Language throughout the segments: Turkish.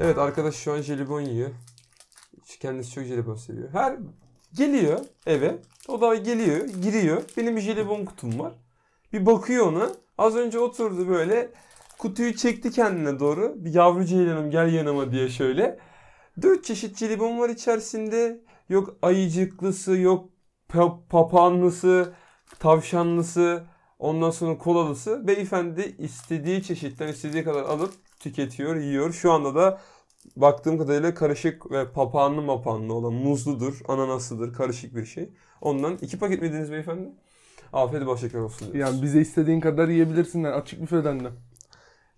Evet arkadaş şu an jelibon yiyor. Kendisi çok jelibon seviyor. Her geliyor eve. O da geliyor, giriyor. Benim bir jelibon kutum var. Bir bakıyor ona. Az önce oturdu böyle. Kutuyu çekti kendine doğru. Bir yavru ceylanım gel yanıma diye şöyle. Dört çeşit jelibon var içerisinde. Yok ayıcıklısı, yok pa- papağanlısı, tavşanlısı, ondan sonra kolalısı. Beyefendi istediği çeşitten istediği kadar alıp tüketiyor, yiyor. Şu anda da baktığım kadarıyla karışık ve papağanlı mapanlı olan muzludur, ananaslıdır, karışık bir şey. Ondan iki paket mi yediniz beyefendi? Afiyet bol şeker olsun diyoruz. Yani bize istediğin kadar yiyebilirsin lan açık büfeden de.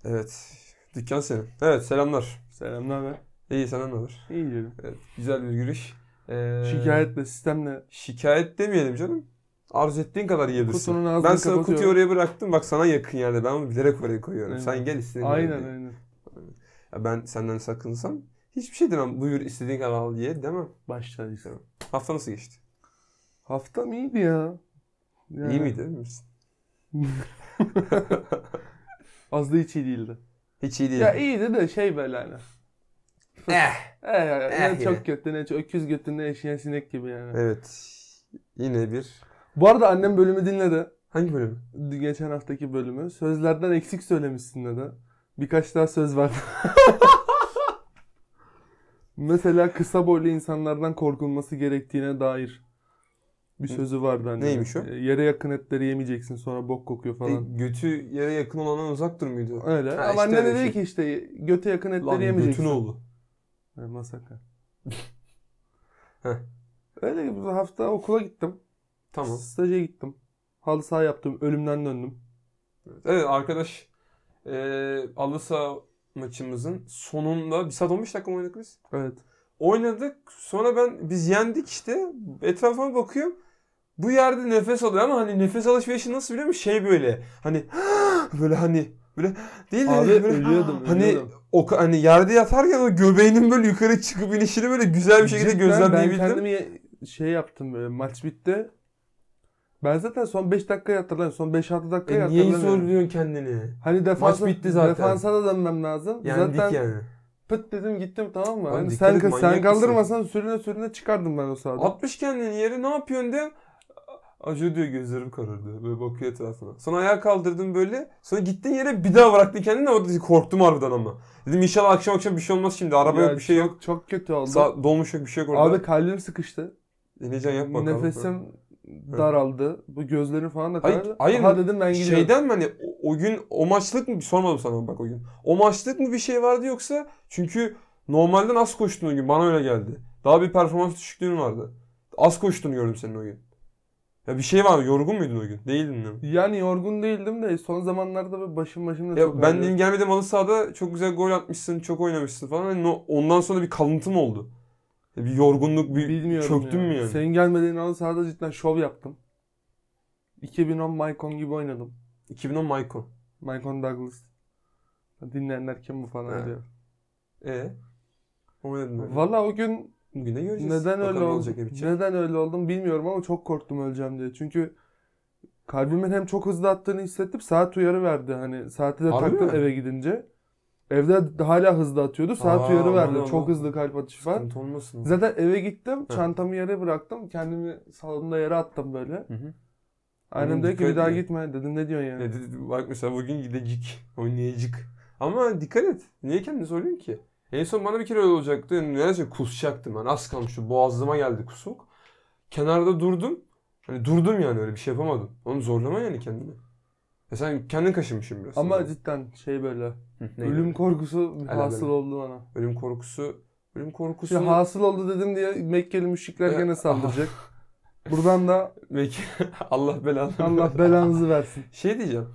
Evet. Dükkan senin. Evet selamlar. Selam ne haber? İyi sana ne haber? İyi diyelim. Evet, güzel bir giriş. Ee, Şikayetle sistemle Şikayet demeyelim canım. Arzu ettiğin kadar yiyebilirsin. kutunun ağzını Ben sana kutuyu kapatıyorum. oraya bıraktım. Bak sana yakın yerde. Ben onu bilerek oraya koyuyorum. Aynen. Sen gel istediğin kadar Aynen ye. aynen. Ya ben senden sakınsam hiçbir şey demem. Buyur istediğin kadar al ye demem. Başlayız. Hafta nasıl geçti? Haftam iyiydi ya. Yani İyi miydi? emin misin? Az da hiç iyi değildi. Hiç iyi değil. Ya iyiydi de şey böyle hani. Eh. Ee, ya, Eh. Eh ne gibi. çok kötü ne çok öküz götü ne eşeğin sinek gibi yani. Evet. Yine bir. Bu arada annem bölümü dinledi. Hangi bölüm? Geçen haftaki bölümü. Sözlerden eksik söylemişsin dedi. Birkaç daha söz var. Mesela kısa boylu insanlardan korkulması gerektiğine dair bir sözü vardı annemin. Neymiş o? Ee, Yere yakın etleri yemeyeceksin sonra bok kokuyor falan. E, götü yere yakın olandan uzak dur muydu? Öyle. Ha, Ama işte anne öyle dedi şey. ki işte göte yakın etleri Lan yemeyeceksin. götün oğlu. Ha, masaka. Heh. Öyle ki bu hafta okula gittim. Tamam. Staja gittim. Halı saha yaptım. Ölümden döndüm. Evet arkadaş eee Alısa maçımızın sonunda bir saat 15 dakika mı oynadık biz? Evet. Oynadık. Sonra ben biz yendik işte. Etrafıma bakıyorum. Bu yerde nefes alıyor ama hani nefes alışverişi nasıl biliyor musun? Şey böyle hani böyle hani böyle değil de Abi böyle, ölüyordum. hani ölüyordum. o ka- hani yerde yatarken o göbeğinin böyle yukarı çıkıp inişini böyle güzel bir şekilde Cidden gözlemleyebildim. Ben kendimi ye- şey yaptım böyle maç bitti. Ben zaten son 5 dakika hatırlamıyorum. Son 5-6 dakika E, niye hatırlamıyorum. zorluyorsun kendini? Hani defansa, bitti zaten. defansa da dönmem lazım. Yendik zaten yani. pıt dedim gittim tamam mı? Lan Hani dikkat sen, et, sen manyak kaldırmasan sürüne sürüne çıkardım ben o sahada. Atmış kendini yere ne yapıyorsun de acı diyor gözlerim karardı. Böyle bakıyor etrafına. Sonra ayağa kaldırdım böyle. Sonra gittin yere bir daha bıraktın kendini. Orada korktum harbiden ama. Dedim inşallah akşam akşam bir şey olmaz şimdi. Araba Ya yok bir şey çok- yok. Çok kötü oldu. Sa- dolmuş yok bir şey yok orada. Abi kalbim sıkıştı. Heyecan yapma. kalk. Nefesim daraldı. Bu gözlerim falan da Hayır- karardı. hayır, Aha dedim ben gidiyorum. Şeyden mi hani o, o gün o maçlık mı? Sormadım sana bak o gün. O maçlık mı bir şey vardı yoksa? Çünkü normalden az koştun o gün. Bana öyle geldi. Daha bir performans düşüklüğün vardı. Az koştun gördüm senin o gün. Ya bir şey var mı? Yorgun muydun o gün? Değildin değil mi? Yani yorgun değildim de son zamanlarda böyle başım başımda çok Ya ben ağrıyor. dedim gelmedim halı sahada çok güzel gol atmışsın, çok oynamışsın falan. Hani no- ondan sonra bir kalıntı mı oldu? Ya Bir yorgunluk, bir Bilmiyorum çöktün ya. mü yani? Senin gelmediğin an sahada cidden şov yaptım. 2010 Maicon gibi oynadım. 2010 Maicon. Maicon Douglas. Dinleyenler kim bu falan Evet. diyor. E. Oynadın öyle. Valla o gün Bugün de göreceğiz. neden Bakalım öyle ne oldum, olacak ne bitecek. neden öyle oldum bilmiyorum ama çok korktum öleceğim diye. Çünkü kalbimin hem çok hızlı attığını hissettim saat uyarı verdi. Hani saati de Harbi taktım mi? eve gidince. Evde hala hızlı atıyordu. Saat Aa, uyarı verdi. aman Çok Allah'ım. hızlı kalp atışı var. Sıkıntı olmasın. Zaten eve gittim. Heh. Çantamı yere bıraktım. Kendimi salonda yere attım böyle. Hı hı. Oğlum Annem dedi ki dikkat bir daha et ya." gitme. Dedim ne diyorsun ya? Ya dedi- bak mesela bugün gidecek, oynayacak. Ama dikkat et. Niye kendini zorluyorsun ki? En son bana bir kere öyle olacaktı. Neredeyse kusacaktım. Yani az kalmıştı. Boğazıma geldi kusuk. Kenarda durdum. Hani durdum yani öyle bir şey yapamadım. Oğlum zorlama yani kendini. Ya sen kendin kaşınmışsın biraz. Ama Hı, cidden şey böyle. neydi? ölüm korkusu Helal hasıl helal. oldu bana. ölüm korkusu. Ölüm korkusu. Şimdi hasıl oldu dedim diye Mekkeli müşrikler E, aha. gene saldıracak. Buradan da Belki Allah belanı. Allah belanızı versin. Şey diyeceğim.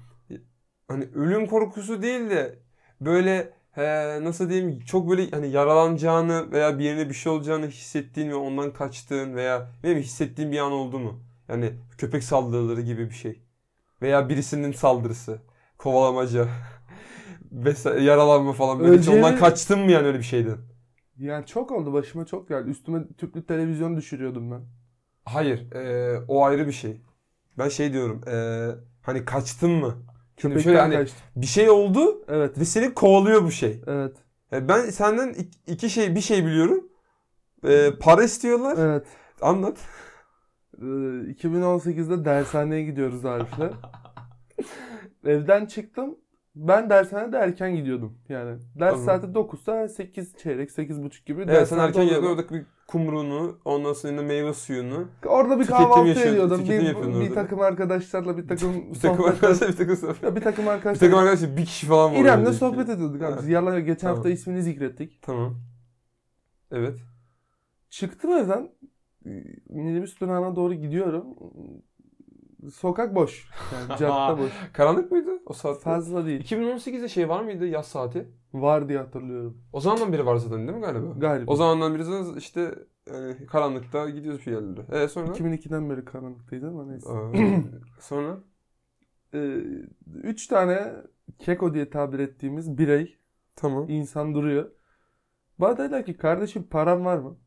Hani ölüm korkusu değil de böyle he, nasıl diyeyim çok böyle hani yaralanacağını veya bir yerine bir şey olacağını hissettiğin ve ondan kaçtığın veya ne bileyim hissettiğin bir an oldu mu? Yani köpek saldırıları gibi bir şey. Veya birisinin saldırısı, kovalamaca, vesaire, yaralanma falan böyle. Hiç Öleceğini- ondan kaçtın mı yani öyle bir şeyden? Yani çok oldu başıma çok geldi. Üstüme tüplü televizyon düşürüyordum ben. Hayır, eee, o ayrı bir şey. Ben şey diyorum, eee, hani kaçtın mı? Şimdi Köpekten şöyle hani kaçtım. bir şey oldu Evet. ve seni kovalıyor bu şey. Evet. E, Ben senden ik- iki şey bir şey biliyorum. E, para istiyorlar. Evet. Anlat. Ee, 2018'de dershaneye gidiyoruz Arif'le. Evden çıktım. Ben dershanede erken gidiyordum. Yani Tamam. ders saati 9'sa 8 çeyrek 8.30 gibi Evet sen dershanede erken geldin oluyordum. orada bir kumruğunu ondan sonra yine meyve suyunu. Orada bir Tüketim kahvaltı yaşıyordun, ediyordum. tüketim yapıyordun Bir, bir orada. takım arkadaşlarla bir takım Bir takım sohbetler. arkadaşlar bir takım sohbet. Ya bir Bir takım takım arkadaşlar. arkadaşlar bir kişi falan var. İrem'le orada. sohbet ediyorduk abi. Evet. Biz Yalan geçen Tamam. hafta ismini zikrettik. Tamam. Evet. Çıktım evden. Ee, Minibüs durağına doğru gidiyorum. Sokak boş. Yani cadde boş. Karanlık mıydı o saatte? Fazla değil. 2018'de şey var mıydı yaz saati? Var diye hatırlıyorum. O zamandan beri var zaten değil mi galiba? Galiba. O zamandan beri zaten işte yani karanlıkta gidiyoruz bir yerlere. E sonra? 2002'den beri karanlıktaydı ama neyse. Ee, sonra? Ee, üç tane keko diye tabir ettiğimiz birey, Tamam. insan duruyor. Bana dediler ki kardeşim param var mı?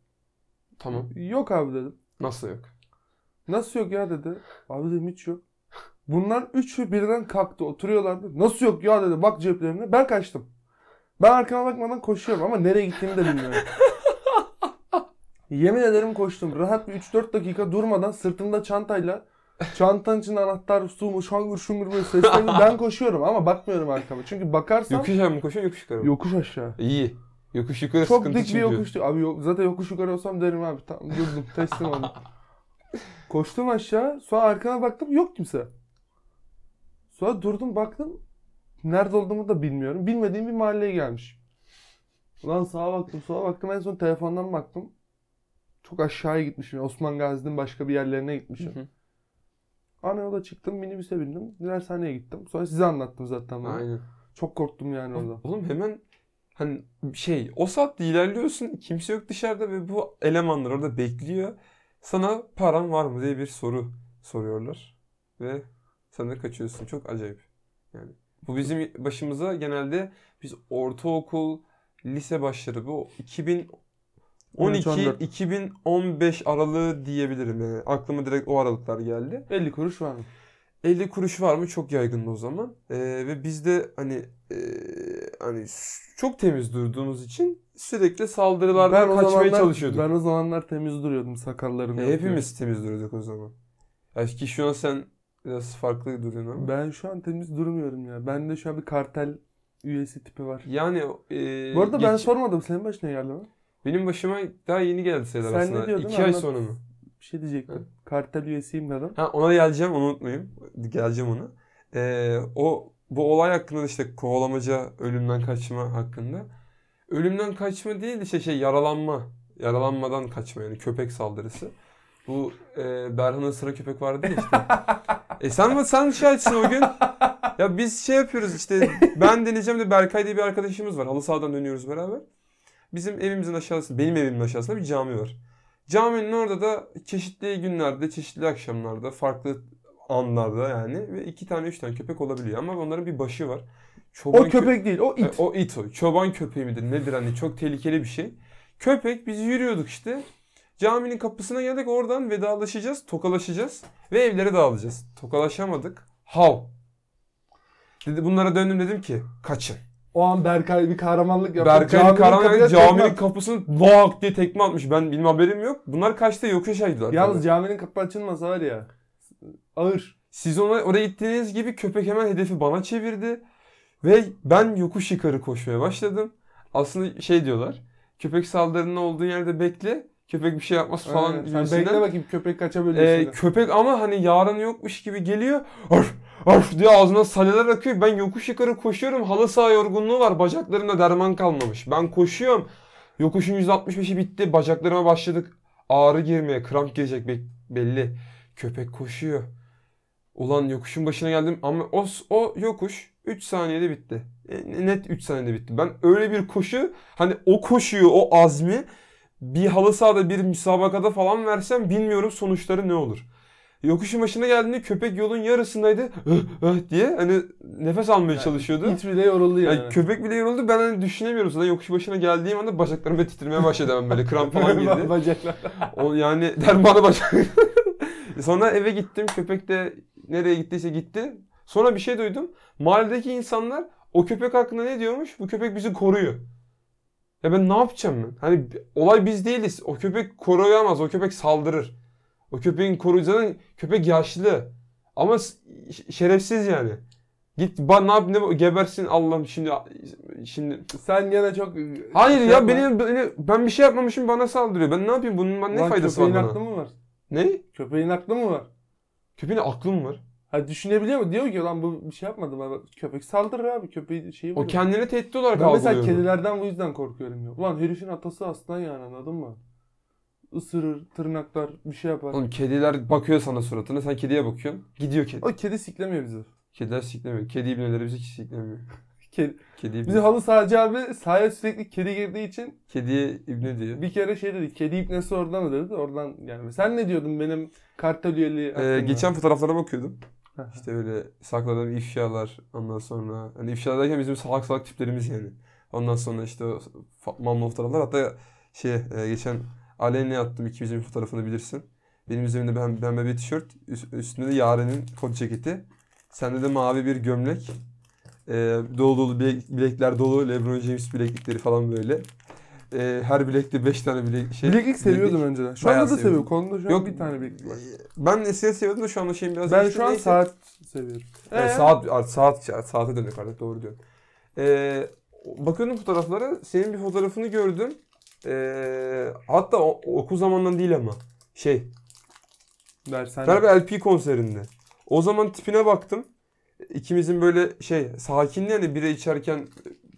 Tamam. Yok abi dedim. Nasıl yok? Nasıl yok ya dedi. Abi dedim hiç yok. Bunlar üçü birden kalktı oturuyorlardı. Nasıl yok ya dedi bak ceplerine. Ben kaçtım. Ben arkama bakmadan koşuyorum ama nereye gittiğimi de bilmiyorum. Yemin ederim koştum. Rahat bir 3-4 dakika durmadan sırtımda çantayla çantanın içinde anahtar, su, şangır şungur böyle seslerle ben koşuyorum ama bakmıyorum arkama. Çünkü bakarsam Yokuş aşağı mı koşuyorsun yokuş yukarı mı? yokuş aşağı. İyi. Yokuş yukarı Çok sıkıntı dik bir çünkü. yokuştu. Abi yok, zaten yokuş yukarı olsam derim abi. Tamam durdum teslim oldum. Koştum aşağı. Sonra arkana baktım yok kimse. Sonra durdum baktım. Nerede olduğumu da bilmiyorum. Bilmediğim bir mahalleye gelmiş. Ulan sağa baktım sola baktım en son telefondan baktım. Çok aşağıya gitmişim. Osman Gazi'nin başka bir yerlerine Hı gitmişim. hı. Ana yola çıktım minibüse bindim. Dershaneye gittim. Sonra size anlattım zaten bunu. Aynen. Çok korktum yani orada. Oğlum hemen hani şey o saatte ilerliyorsun kimse yok dışarıda ve bu elemanlar orada bekliyor. Sana paran var mı diye bir soru soruyorlar ve sen de kaçıyorsun. Çok acayip. Yani bu bizim başımıza genelde biz ortaokul, lise başları bu 13-14. 2012-2015 aralığı diyebilirim. Yani aklıma direkt o aralıklar geldi. 50 kuruş var mı? 50 kuruş var mı çok yaygındı o zaman. Ee, ve biz de hani e, hani s- çok temiz durduğumuz için sürekli saldırılardan kaçmaya çalışıyorduk. Ben o zamanlar temiz duruyordum E, sakallarımı. yapıyordum. hepimiz temiz duruyorduk o zaman. Ya ki şu an sen biraz farklı duruyorsun ama. Ben şu an temiz durmuyorum ya. Bende şu an bir kartel üyesi tipi var. Yani e, Bu arada ben geç- sormadım. Senin başına geldi mi? benim başıma daha yeni geldi şeyler Sen ne aslında. diyordun? İki ay Anlat. sonra mı? Bir şey diyecektim. Kartel üyesiyim dedim. Ha, ona geleceğim onu unutmayayım. Geleceğim ona. Ee, o bu olay hakkında işte kovalamaca, ölümden kaçma hakkında. Ölümden kaçma değil de işte şey yaralanma. Yaralanmadan kaçma yani köpek saldırısı. Bu e, Berhan'ın sıra köpek vardı ya işte. e sen sen şahitsin o gün. Ya biz şey yapıyoruz işte ben deneyeceğim de Berkay diye bir arkadaşımız var. Halı sahadan dönüyoruz beraber. Bizim evimizin aşağısı, benim evimin aşağısında bir cami var. Caminin orada da çeşitli günlerde, çeşitli akşamlarda, farklı anlarda yani ve iki tane üç tane köpek olabiliyor ama onların bir başı var. Çoban O kö- köpek değil, o e, it. o it o. Çoban köpeği midir nedir hani çok tehlikeli bir şey. Köpek biz yürüyorduk işte. Caminin kapısına geldik oradan vedalaşacağız, tokalaşacağız ve evlere dağılacağız. Tokalaşamadık. Hav. Dedi bunlara döndüm dedim ki kaçın. O an Berkay bir kahramanlık yaptı. Berkay'ın Caminin karanlığı kapıya caminin tekme- kapısını lak diye tekme atmış. Ben benim haberim yok. Bunlar kaçta yokuş aşağıydılar. Yalnız caminin kapı açılmasa var ya. Ağır. Siz ona oraya gittiğiniz gibi köpek hemen hedefi bana çevirdi. Ve ben yokuş yukarı koşmaya başladım. Aslında şey diyorlar. Köpek saldırının olduğu yerde bekle. Köpek bir şey yapmaz falan Aynen. Ee, Sen gibisinden. bekle bakayım köpek kaça Ee, bölüyorsun. köpek ama hani yarın yokmuş gibi geliyor. Arf, arf diye ağzına saleler akıyor. Ben yokuş yukarı koşuyorum. Halı saha yorgunluğu var. Bacaklarımda derman kalmamış. Ben koşuyorum. Yokuşun %65'i bitti. Bacaklarıma başladık. Ağrı girmeye, kramp girecek be- belli. Köpek koşuyor. Ulan yokuşun başına geldim ama o, o yokuş 3 saniyede bitti. E, Net 3 saniyede bitti. Ben öyle bir koşu hani o koşuyu o azmi bir halı sahada bir müsabakada falan versem bilmiyorum sonuçları ne olur. Yokuşun başına geldiğinde köpek yolun yarısındaydı "Hıh, hıh" diye hani nefes almaya çalışıyordu. it bile yoruldu yani. Yani köpek bile yoruldu. Ben hani düşünemiyorum. Zaten yokuş başına geldiğim anda bacaklarım ve titremeye başladı hemen böyle. Kramp falan girdi. Bacaklar. O yani dermanı başak. Sonra eve gittim. Köpek de nereye gittiyse gitti. Sonra bir şey duydum. Mahalledeki insanlar o köpek hakkında ne diyormuş? Bu köpek bizi koruyor. Ya ben ne yapacağım ben? Hani bi- olay biz değiliz. O köpek koruyamaz. O köpek saldırır. O köpeğin koruyucuların köpek yaşlı. Ama s- ş- şerefsiz yani. Git ba, ne yap ne gebersin Allah'ım şimdi şimdi. Sen gene çok... Hayır şey ya yapma. beni, beni- ben bir şey yapmamışım bana saldırıyor. Ben ne yapayım bunun bana ne Ulan faydası var köpeğin bana? aklı mı var? Ne? Köpeğin aklı mı var? Köpeğin aklım var. Ha düşünebiliyor mu? Diyor ki lan bu bir şey yapmadı bana. Köpek saldırır abi. Köpeği şeyi O vuruyor. kendini tehdit olarak Ben mesela algılıyor. kedilerden bu yüzden korkuyorum ya. Ulan herifin atası aslan yani anladın mı? Isırır, tırnaklar, bir şey yapar. Oğlum kediler bakıyor sana suratına. Sen kediye bakıyorsun. Gidiyor kedi. O kedi siklemiyor bizi. Kediler siklemiyor. Kedi ibneleri bizi siklemiyor. Kedi. Kedi Bizi ibne. halı sahacı abi sahaya sürekli kedi girdiği için Kediye ibne diyor. bir kere şey dedi. Kedi ipnesi oradan mı dedi. Oradan yani. Sen ne diyordun benim kartal üyeliği Ee, hakkında? geçen fotoğraflara bakıyordum. Hı hı. İşte böyle sakladığım ifşalar ondan sonra. Hani ifşa derken bizim salak salak tiplerimiz yani. Ondan sonra işte o fa- mamlu fotoğraflar. Hatta şey e, geçen Aleyna'ya attım ikimizin bir fotoğrafını bilirsin. Benim üzerimde ben, pembe bir tişört. üst- üstünde de Yaren'in kot ceketi. Sende de mavi bir gömlek. E, dolu dolu bilek- bilekler dolu. Lebron James bileklikleri falan böyle. E, her bilekte 5 tane bilek şey. Bileklik seviyordum önceden. Şu anda Bayağı da seviyorum. seviyordum. Kolumda şu an Yok, bir tane bileklik var. Ben eskiden seviyordum da şu anda şeyim biraz Ben değişti. şu an Neyse. saat seviyorum. Yani Ee? saat artık saat saate dönük artık doğru diyorsun. Ee, bakıyordum fotoğraflara. Senin bir fotoğrafını gördüm. Ee, hatta o, okul zamandan değil ama. Şey, Dersen. galiba LP konserinde. O zaman tipine baktım. İkimizin böyle şey sakinliği hani bira içerken e,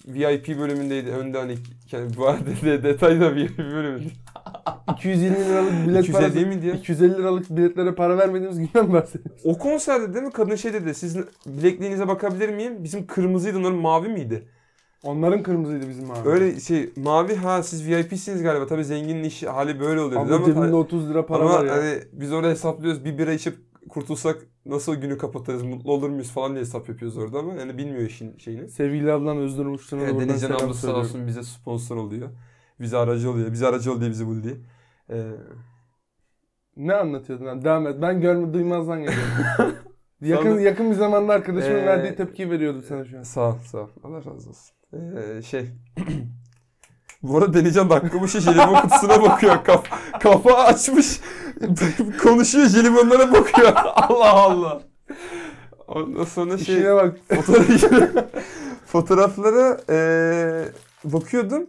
VIP bölümündeydi. Önde hani yani, bu arada de- detaylı da VIP bölümünde. 220 liralık bilet 250 parası. değil mi diye. 250 liralık biletlere para vermediğimiz günden bahsediyoruz. O konserde değil mi kadın şey dedi. Sizin bilekliğinize bakabilir miyim? Bizim kırmızıydı onların mavi miydi? Onların kırmızıydı bizim abi. Öyle şey mavi ha siz VIP'siniz galiba. Tabii zenginin işi hali böyle oluyor dedi Ama ama, cebimde 30 lira para ama var ya. hani biz orada hesaplıyoruz. Bir bira içip kurtulsak nasıl günü kapatırız, mutlu olur muyuz falan diye hesap yapıyoruz orada ama yani bilmiyor işin şeyini. Sevgili ablam Özgür Uçtun'a da Evet, buradan Denizcan selam abla sağ söylüyorum. olsun bize sponsor oluyor. Bize aracı oluyor. Bize aracı ol diye bizi bul diye. Ee, Ne anlatıyordun lan? Devam et. Ben görme duymazdan geliyorum. yakın Sonra- yakın bir zamanda arkadaşımın Ee, verdiği tepkiyi veriyordum sana şu an. sağ ol, sağ ol. Allah razı olsun. Ee, şey Bu arada Denizcan da hakkı bu şey jelibon kutusuna bakıyor. Kaf, kafa açmış. Konuşuyor jelibonlara bakıyor. Allah Allah. Ondan sonra şey... İşine bak. Fotoğraf- fotoğraflara eee, bakıyordum.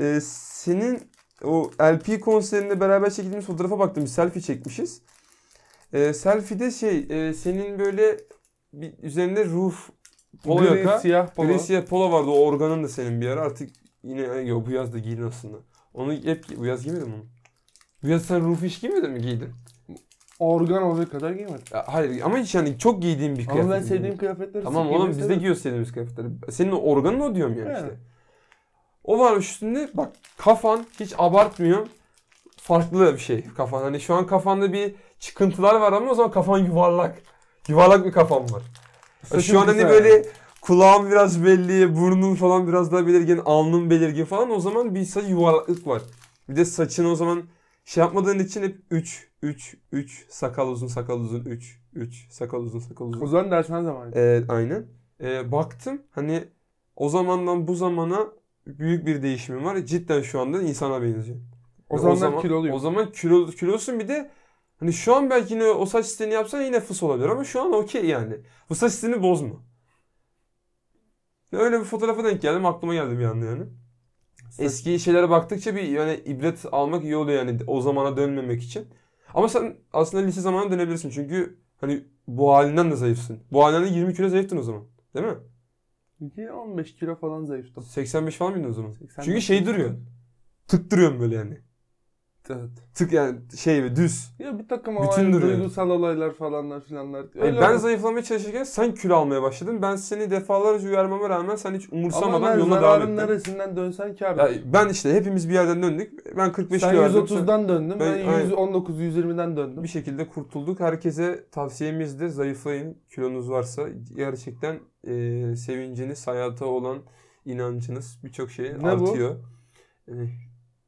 Eee, senin o LP konserinde beraber çektiğimiz fotoğrafa baktım. Bir selfie çekmişiz. Eee selfie'de şey eee, senin böyle bir üzerinde roof polo Gri, yaka. siyah polo. Gri siyah polo vardı. O organın da senin bir ara. Artık yine ya bu yaz da giyin aslında. Onu hep bu yaz giymedin mi? onu? Bu yaz sen roof hiç giymedin mi giydin? Organ olacak kadar giymedim. Ya, Hayır ama hiç yani çok giydiğim bir kıyafet. Ama ben değil. sevdiğim kıyafetleri Tamam sık oğlum giymeyi biz de severim. giyiyoruz sevdiğimiz kıyafetleri. Senin o organın o diyorum yani Evet. işte. O varmış üstünde bak kafan hiç abartmıyor. Farklı bir şey kafan. Hani şu an kafanda bir çıkıntılar var ama o zaman kafan yuvarlak. Yuvarlak bir kafan var. Saçın şu an hani kısa böyle yani. kulağın biraz belli, burnun falan biraz daha belirgin, alnın belirgin falan o zaman bir saç yuvarlaklık var. Bir de saçın o zaman şey yapmadığın için hep 3 3 3 sakal uzun sakal uzun 3 3 sakal uzun sakal uzun. O zaman dersen zaman. Ee, aynen. Ee, baktım hani o zamandan bu zamana büyük bir değişimim var. Cidden şu anda insana benziyor. O Ve zamanlar kiloluyum. O zaman kilo, kilosun bir de hani şu an belki yine o saç stilini yapsan yine fıs olabilir ama şu an okey yani. Bu saç stilini bozma. Öyle bir fotoğrafa denk geldim aklıma geldi bir anda yani. Eski şeylere baktıkça bir yani ibret almak iyi oluyor yani o zamana dönmemek için. Ama sen aslında lise zamanına dönebilirsin çünkü hani bu halinden de zayıfsın. Bu halinden de 20 kilo zayıftın o zaman. Değil mi? Yine 15 kilo falan zayıftım. 85 falan mıydın o zaman? 85 Çünkü şey duruyor. Tık duruyorsun böyle yani. Evet. Tık yani şey ve düz. Ya bir takım Bütün olay- duruyor. duygusal olaylar falanlar filanlar. Yani Öyle E, ben oldu. zayıflamaya çalışırken sen kilo almaya başladın. Ben seni defalarca uyarmama rağmen sen hiç Ama umursamadan ben yoluna devam zararın ettin. neresinden dönsen kâr. Ya ben işte hepimiz bir yerden döndük. Ben 45 Sen kilo verdim. sen- 130'dan döndün. Ben, Ben- aynen. 119-120'den döndüm. bir şekilde kurtulduk. Herkese tavsiyemiz de zayıflayın. Kilonuz varsa gerçekten e, sevinciniz, hayata olan inancınız birçok şey Ne bu? artıyor. E,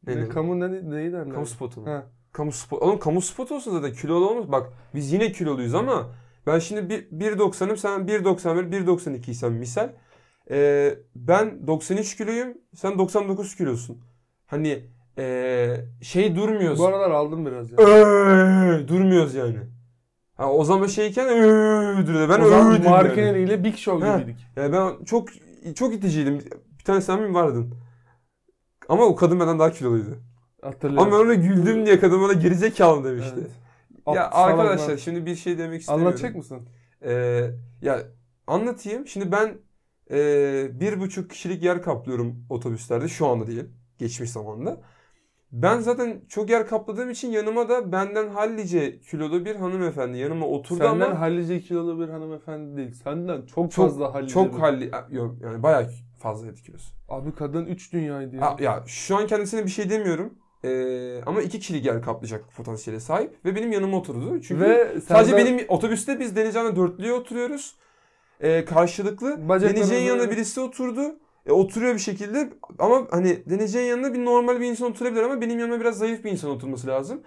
ne, Ne, ne? kamu ne, neyi derler? Kamu spotu mu? Ha. Kamu spotu. Oğlum kamu spotu olsa zaten kilolu olmaz. Bak biz yine kiloluyuz ama ben şimdi bir- 1.90'ım sen 1.91, 1.92 isem misal. e, ben 93 kiloyum sen 99 kilosun. Hani e, şey durmuyoruz. Bu aralar aldım biraz ya. Eee, durmuyoruz yani. Ha, o zaman şeyken eee, duruyordu. Ben o zaman eee dedim yani. Markeneri ile Big Show Ha. gibiydik. Yani ben çok çok iticiydim. Bir tane sen mi vardın? Ama o kadın benden daha kiloluydu. Ama Hatırlıyorum. ben ona güldüm diye kadın bana gerizekalı demişti. Evet. Ya Aptal arkadaşlar salaklar. şimdi bir şey demek istemiyorum. anlatacak mısın? Ee, ya anlatayım. Şimdi ben ee, bir buçuk kişilik yer kaplıyorum otobüslerde şu anda değil. Geçmiş zamanda. Ben zaten çok yer kapladığım için yanıma da benden hallice kilolu bir hanımefendi yanıma oturdu Senden ama hallice kilolu bir hanımefendi değil. Senden Çok- çok, fazla hallice. çok bir- halli yok yani bayağı fazla kilosu. Abi kadın 3 dünyaydı ya. Ha, ya şu an kendisine bir şey demiyorum. Ee, ama iki kişilik yer kaplayacak potansiyele sahip ve benim yanıma oturdu. Çünkü Ve sadece senden- benim otobüste biz Denizcan'la dörtlüye oturuyoruz. Ee, karşılıklı. Bacaklarımızı- Denizcan'ın yanına birisi oturdu. E, oturuyor bir şekilde ama hani Denizcan'ın yanına bir normal bir insan oturabilir ama benim yanıma biraz zayıf bir insan oturması lazım.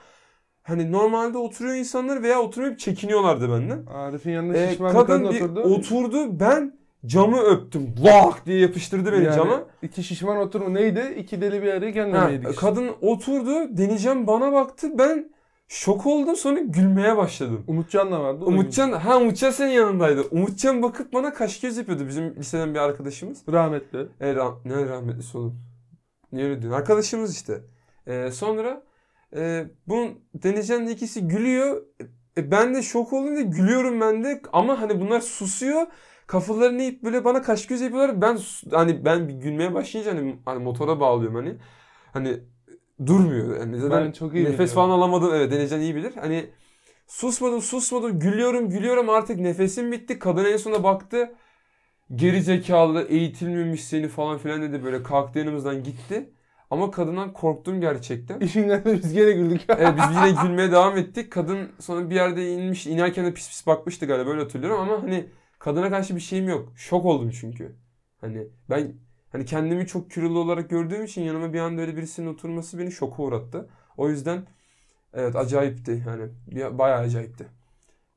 Hani normalde oturuyor insanlar veya oturmayıp çekiniyorlardı benden. Arif'in yanına Ee, şişman kadın, bir bir kadın oturdu. oturdu. Ben camı öptüm. Lak diye yapıştırdı beni Yani cama. İki şişman oturma neydi? İki deli bir araya Ha, gelmemeydik. işte. kadın oturdu. Deneyeceğim bana baktı. Ben şok oldum. Sonra gülmeye başladım. Umutcan da vardı. o da Umutcan, ha Umutcan senin yanındaydı. Umutcan bakıp bana kaş göz yapıyordu bizim liseden bir arkadaşımız. güldü. Rahmetli. E, rah- ne rahmetlisi oğlum. Niye öyle diyorsun? Arkadaşımız işte. E, sonra e, bunun Denizcan'la ikisi gülüyor. E, ben de şok olunca gülüyorum ben de. Ama hani bunlar susuyor. Kafalarını eğip böyle bana kaş göz yapıyorlar. Ben sus- hani ben bir gülmeye başlayınca hani, hani motora bağlıyorum hani. Hani durmuyor. Yani zaten Ben çok iyi nefes biliyorum. falan alamadım. Evet Denizcan iyi bilir. Hani susmadım susmadım gülüyorum gülüyorum artık nefesim bitti. Kadın en sonunda baktı. Geri zekalı eğitilmemiş seni falan filan dedi böyle kalktı yanımızdan gitti. Ama kadından korktum gerçekten. İşin geldi biz gene güldük. Evet biz yine gülmeye devam ettik. Kadın sonra bir yerde inmiş, inerken de pis pis bakmıştı galiba böyle hatırlıyorum ama hani kadına karşı bir şeyim yok. Şok oldum çünkü. Hani ben hani kendimi çok kilolu olarak gördüğüm için yanıma bir anda öyle birisinin oturması beni şoka uğrattı. O yüzden evet acayipti yani. Bir- Bayağı acayipti.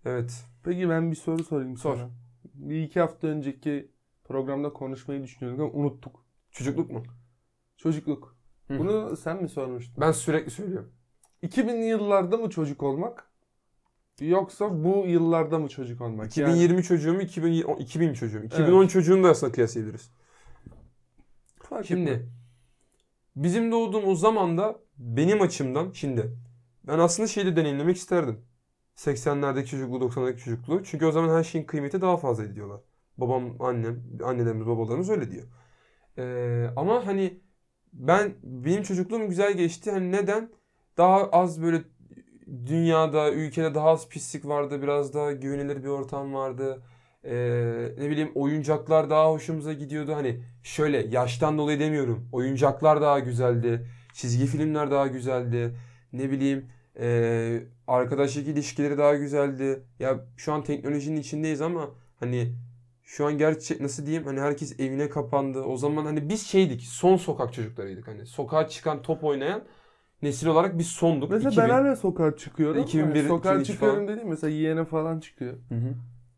Evet. Peki ben bir soru sorayım Sor. sana. Bir iki hafta önceki programda konuşmayı düşünüyorduk ama unuttuk. Çocukluk mu? Çocukluk. Hı. Bunu sen mi sormuştun? Ben sürekli söylüyorum. 2000'li yıllarda mı çocuk olmak? Yoksa bu yıllarda mı çocuk olmak? 2020 çocuğum, 2000, 2000 çocuğum. 2010 çocuğunu da aslında kıyaslayabiliriz. Fark etmez. Şimdi bizim doğduğumuz zaman da benim açımdan şimdi ben aslında şeyi de deneyimlemek isterdim. 80'lerdeki çocukluğu, 90'lardaki çocukluğu. Çünkü o zaman her şeyin kıymeti daha fazla diyorlar. Babam, annem, annelerimiz, babalarımız öyle diyor. Ee, ama hani ben benim çocukluğum güzel geçti. Hani neden? Daha az böyle dünyada, ülkede daha az pislik vardı. Biraz daha güvenilir bir ortam vardı. Ee, ne bileyim oyuncaklar daha hoşumuza gidiyordu. Hani şöyle yaştan dolayı demiyorum. Oyuncaklar daha güzeldi. Çizgi filmler daha güzeldi. Ne bileyim ee, arkadaşlık ilişkileri daha güzeldi. Ya şu an teknolojinin içindeyiz ama hani şu an gerçek nasıl diyeyim hani herkes evine kapandı. O zaman hani biz şeydik son sokak çocuklarıydık. Hani sokağa çıkan top oynayan nesil olarak biz sonduk. Mesela 2000. ben hala sokağa çıkıyorum. 2001, Yani sokağa 2002 çıkıyorum falan. dediğim mesela yeğene falan çıkıyor. Hı hı.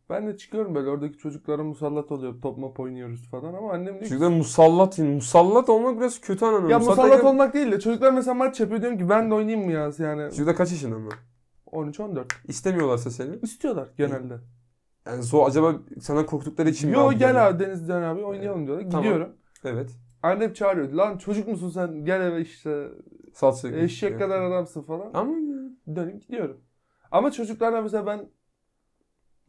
Ben de çıkıyorum böyle oradaki çocuklara musallat oluyor. Top mop oynuyoruz falan ama annem diyor ki Çocuklar musallat. yani musallat olmak biraz kötü anlamda. ya musallat derken- olmak değil de çocuklar mesela maç yapıyor diyorum ki ben de oynayayım mı ya yani Çocuklar kaç yaşında mı? 13-14 İstemiyorlarsa seni. istiyorlar genelde. Yani so acaba senden korktukları için mi Yo abi yani? gel abi Deniz Can abi oynayalım diyorlar. Tamam. Gidiyorum. Evet. Annem çağırıyor. Lan çocuk musun sen? Gel eve işte. Salça. Eşek kadar adamsın falan. Ama Dönüp gidiyorum. Ama çocuklarla mesela ben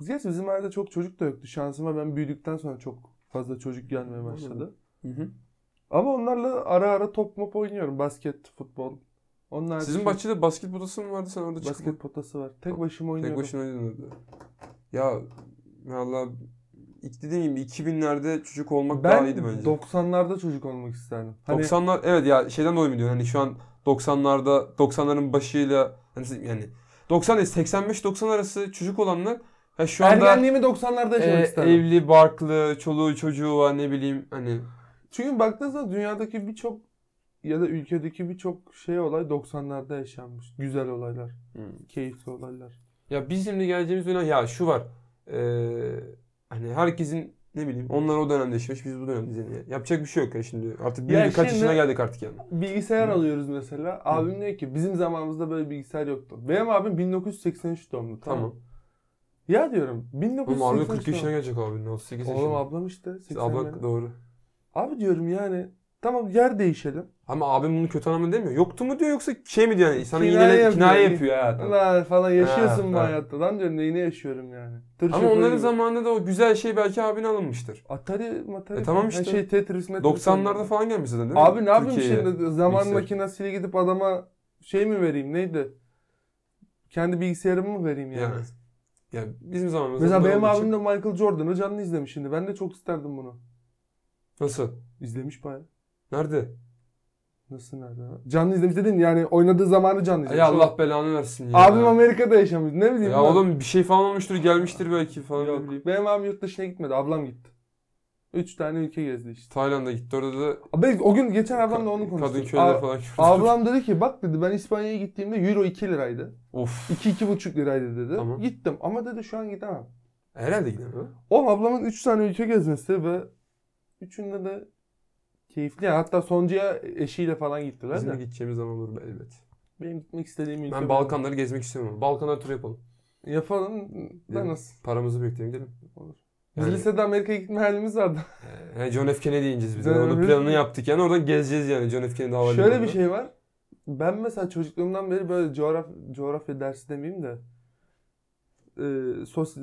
Gerçi bizim ailede çok çocuk da yoktu. Şansıma ben büyüdükten sonra çok fazla çocuk gelmeye başladı. Hı hı. Ama onlarla ara ara top mop oynuyorum. Basket, futbol. Onlar Sizin bahçede basket potası mı vardı sen orada çıkıp basket potası var. Tek başıma tek oynuyorum. başına oynadın orada? Ya valla ilk dediğim gibi 2000'lerde çocuk olmak daha ben iyiydi bence. 90'larda çocuk olmak isterdim. Hani 90'lar evet ya şeyden dolayı mı diyorsun hani şu an 90'larda 90'ların başıyla hani siz- yani 90 değil, 85 90 arası çocuk olanlar ya şu anda ergenliğimi 90'larda yaşamak e, isterdim. evli, barklı, çoluğu, çocuğu var ne bileyim hani Çünkü baktığınız zaman dünyadaki birçok ya da ülkedeki birçok şey olay 90'larda yaşanmış. Güzel olaylar, keyifli olaylar. Ya bizim de geleceğimiz dönem ya şu var. Ee, hani herkesin Ne bileyim onlar o dönemde yaşamış biz bu dönemde yani. Yapacak bir şey yok ya şimdi. Artık Ya büyüdük kaç şimdi- yaşına geldik artık yani. Bilgisayar Hı. alıyoruz mesela. Abim diyor ki bizim zamanımızda böyle bilgisayar yoktu. Benim abim 1983 doğumlu. Tamam. Tamam. Ya diyorum Oğlum 1983 abi 40 yaşına doğumlu. gelecek abi. Ne 38 yaşında. Oğlum ablam işte. Siz 80 Abla doğru. Abi diyorum yani tamam yer değişelim. Ama abim bunu kötü anlamda demiyor. Yoktu mu diyor yoksa şey mi diyor yani sana Kinaye yine yapıyor. kinaye yapıyor hayatım. Lan falan yaşıyorsun Ha, bu ha. hayatta. Lan diyorum neyini yaşıyorum yani. Tır Ama şoförü onların gibi. zamanında da o güzel şey belki abine alınmıştır. Atari, matari. E tamam her işte. Şey Tetris, Metris. 90'larda falan gelmiş zaten değil mi? Abi ne yapayım Türkiye'ye. şimdi? Zaman bilgisayar. makinesiyle gidip adama şey mi vereyim neydi? Kendi bilgisayarımı mı vereyim yani? Yani. Ya bizim zamanımızda Mesela bunlar benim olduğu abim için- de Michael Jordan'ı canlı izlemiş şimdi. Ben de çok isterdim bunu. Nasıl? İzlemiş bayağı. Nerede? Nasıl nerede? lan? Canlı izlemiş dedin yani oynadığı zamanı canlı izlemiş. Ya Allah belanı versin ya. Abim Amerika'da yaşamış. Ne bileyim. Ya lan. oğlum bir şey falan olmuştur gelmiştir belki falan ne Yok. bileyim. Benim abim yurt dışına gitmedi. Ablam gitti. Üç tane ülke gezdi işte. Tayland'a gitti orada da Abi o gün geçen ablamla onu kadın konuştuk. köyleri A- falan gördüm. Ablam dedi ki bak dedi ben İspanya'ya gittiğimde euro 2 liraydı. Of. 2-2,5 liraydı dedi. Tamam. Gittim ama dedi şu an gidemem. Herhalde gidemem. Oğlum ablamın 3 tane ülke gezmesi ve üçünde de keyifli. Yani hatta sonuncuya eşiyle falan gittiler Bizim de de. gideceğimiz zaman olur elbet. Benim gitmek istediğim ülke. Ben Balkanları gezmek istiyorum. Balkanlar turu yapalım. Yapalım da Gidelim. nasıl? Paramızı biriktirelim gidelim. Olur. Biz Yani, lisede Amerika'ya gitme halimiz vardı. yani John F. Kennedy ineceğiz biz. Biz- Yani onun planını yaptık yani oradan gezeceğiz yani John F. Kennedy havalimanında. Şöyle bir şey var. Ben mesela çocukluğumdan beri böyle coğraf coğrafya dersi demeyeyim de e, sos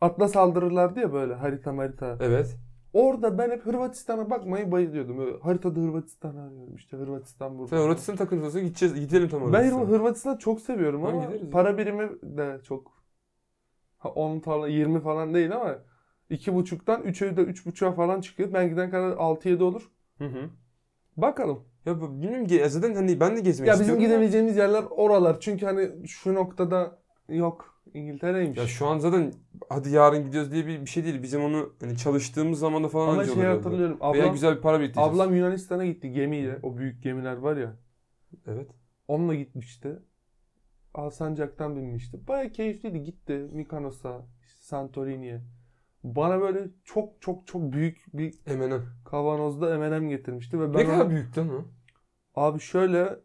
atlas aldırırlardı ya böyle harita harita. Evet. Orada ben hep Hırvatistan'a bakmayı bayılıyordum. Böyle haritada Hırvatistan'ı arıyorum işte Hırvatistan burada. Sen Hırvatistan takıntılısı gideceğiz. Gidelim tam Ben Hırvatistan'a. Hırv- Hırvatistan'ı çok seviyorum Tamam, ama gideriz. para birimi de çok. Ha, 10 falan 20 falan değil ama 2.5'tan 3'e de 3.5'a falan çıkıyor. Ben giden kadar 6-7 olur. Hı hı. Bakalım. Ya bu- bilmiyorum ki zaten hani ben de gezmek Ya bizim istiyorum. ama- gidebileceğimiz yerler oralar. Çünkü hani şu noktada yok İngiltere'ymiş. Ya şu an zaten hadi yarın gidiyoruz diye bir, bir şey değil. Bizim onu hani çalıştığımız zamanda falan ama anca şey oluyordu. hatırlıyorum. Veya Ablam, güzel bir para biriktireceğiz. ablam Yunanistan'a gitti gemiyle. O büyük gemiler var ya. Evet. Onunla gitmişti. Alsancak'tan binmişti. Baya keyifliydi. Gitti Mikonos'a, işte Santorini'ye. Bana böyle çok çok çok büyük bir Eminem. kavanozda M&M getirmişti ve M&M. Ne ben kadar ona- büyük lan o? abi şöyle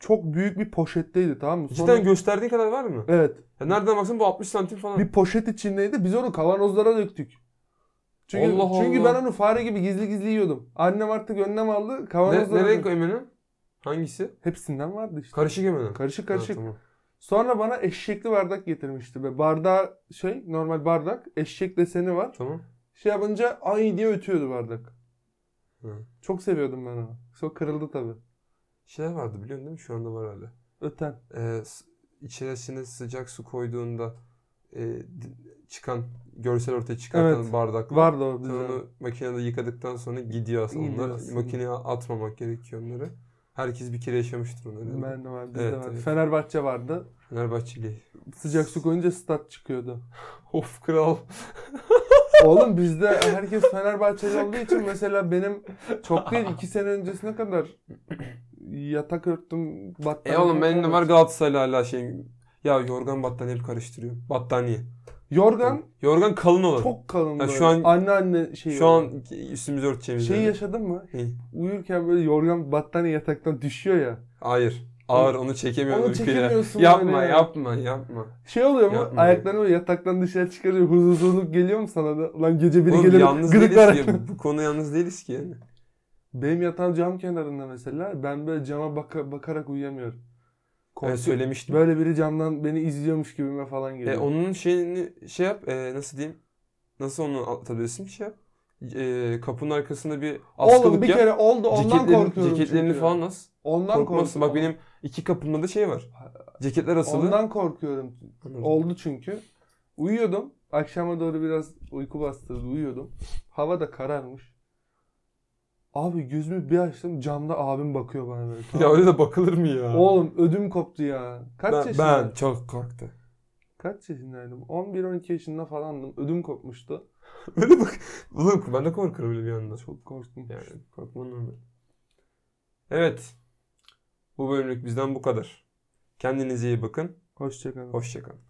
çok büyük bir poşetteydi tamam mı? Sonra- Cidden gösterdiğin kadar var mı? evet. Ya nereden baksan bu 60 santim falan. Bir poşet içindeydi. Biz onu kavanozlara döktük. Çünkü Allah çünkü Allah. ben onu fare gibi gizli gizli yiyordum. Annem artık önlem aldı. Ne, Kavanozlara nereye döktü. koy Eminem? Hangisi? Hepsinden vardı işte. Karışık Eminem. karışık Ha, karışık. tamam. Sonra bana eşekli bardak getirmişti. Ve bardağı şey normal bardak eşek deseni var. Tamam. Şey yapınca ay diye ötüyordu bardak. Hı. Çok seviyordum ben onu. Sonra kırıldı tabii. Şeyler vardı biliyorsun değil mi? Şu anda var hala. Öten. Ee, s- içerisine sıcak su koyduğunda e, di- çıkan görsel ortaya çıkartan Evet. bardak. Vardı o Sen bizde. onu makinede yıkadıktan sonra gidiyor aslında. Gidiyor Onlar aslında. makineye atmamak gerekiyor onları. Herkes bir kere yaşamıştır onları. Ben de var, bizde Evet, vardı. evet. Fenerbahçe vardı. Fenerbahçeli. Sıcak su koyunca stat çıkıyordu. Of kral. Oğlum bizde herkes Fenerbahçeli olduğu için mesela benim çok değil iki sene öncesine kadar yatak örttüm E battaniye. oğlum benim de falan var Galatasaray'la hala şey. Ya yorgan battaniye hep karıştırıyor. Battaniye. Yorgan Yorgan kalın olan. çok şey kalın Ha, böyle. şu an- anne anne şeyi. Şu an üstümüzü örteceğimiz. Şeyi yani. yaşadın mı? Hı. Uyurken böyle yorgan battaniye yataktan düşüyor ya. Hayır. Ağır onu çekemiyorum. Onu ülkeye. çekemiyorsun Yapma böyle ya. yapma yapma. Şey oluyor mu? Yapma. Ayaklarını böyle yataktan dışarı çıkarıyor. Huzursuzluk geliyor mu sana da? Ulan gece biri Oğlum gelir yalnız gıdıklar. değiliz ki. Bu konu yalnız değiliz ki yani. Benim yatağım cam kenarında mesela. Ben böyle cama baka- bakarak uyuyamıyorum. Ben söylemiştim. Böyle biri camdan beni izliyormuş gibime falan geliyor. E, onun şeyini şey yap. e, nasıl diyeyim? Nasıl onu atabilirsin? Şey yap. E, kapının arkasında bir askılık Oğlum bir yap. kere oldu ondan Ceketlerin- korkuyorum ceketlerini çünkü. falan as. Ondan Korkmazsın. korkuyorum. Bak benim iki kapımda da şey var. Ceketler asılı. Ondan korkuyorum. Anladım. Oldu çünkü. Uyuyordum. Akşama doğru biraz uyku bastırdı. Uyuyordum. Hava da kararmış. Abi gözümü bir açtım. Camda abim bakıyor bana böyle. Ya tamam mı? öyle de bakılır mı ya? Oğlum ödüm koptu ya. Kaç ben, yaşında? ben çok korktum. Kaç yaşındaydım? 11-12 yaşında falandım. Ödüm kopmuştu. Böyle bak. Oğlum ben de korkarım öyle bir anda. Çok korktum. Yani korkman normal. Evet. Bu bölümlük bizden bu kadar. Kendinize iyi bakın. Hoşçakalın. Hoşçakalın.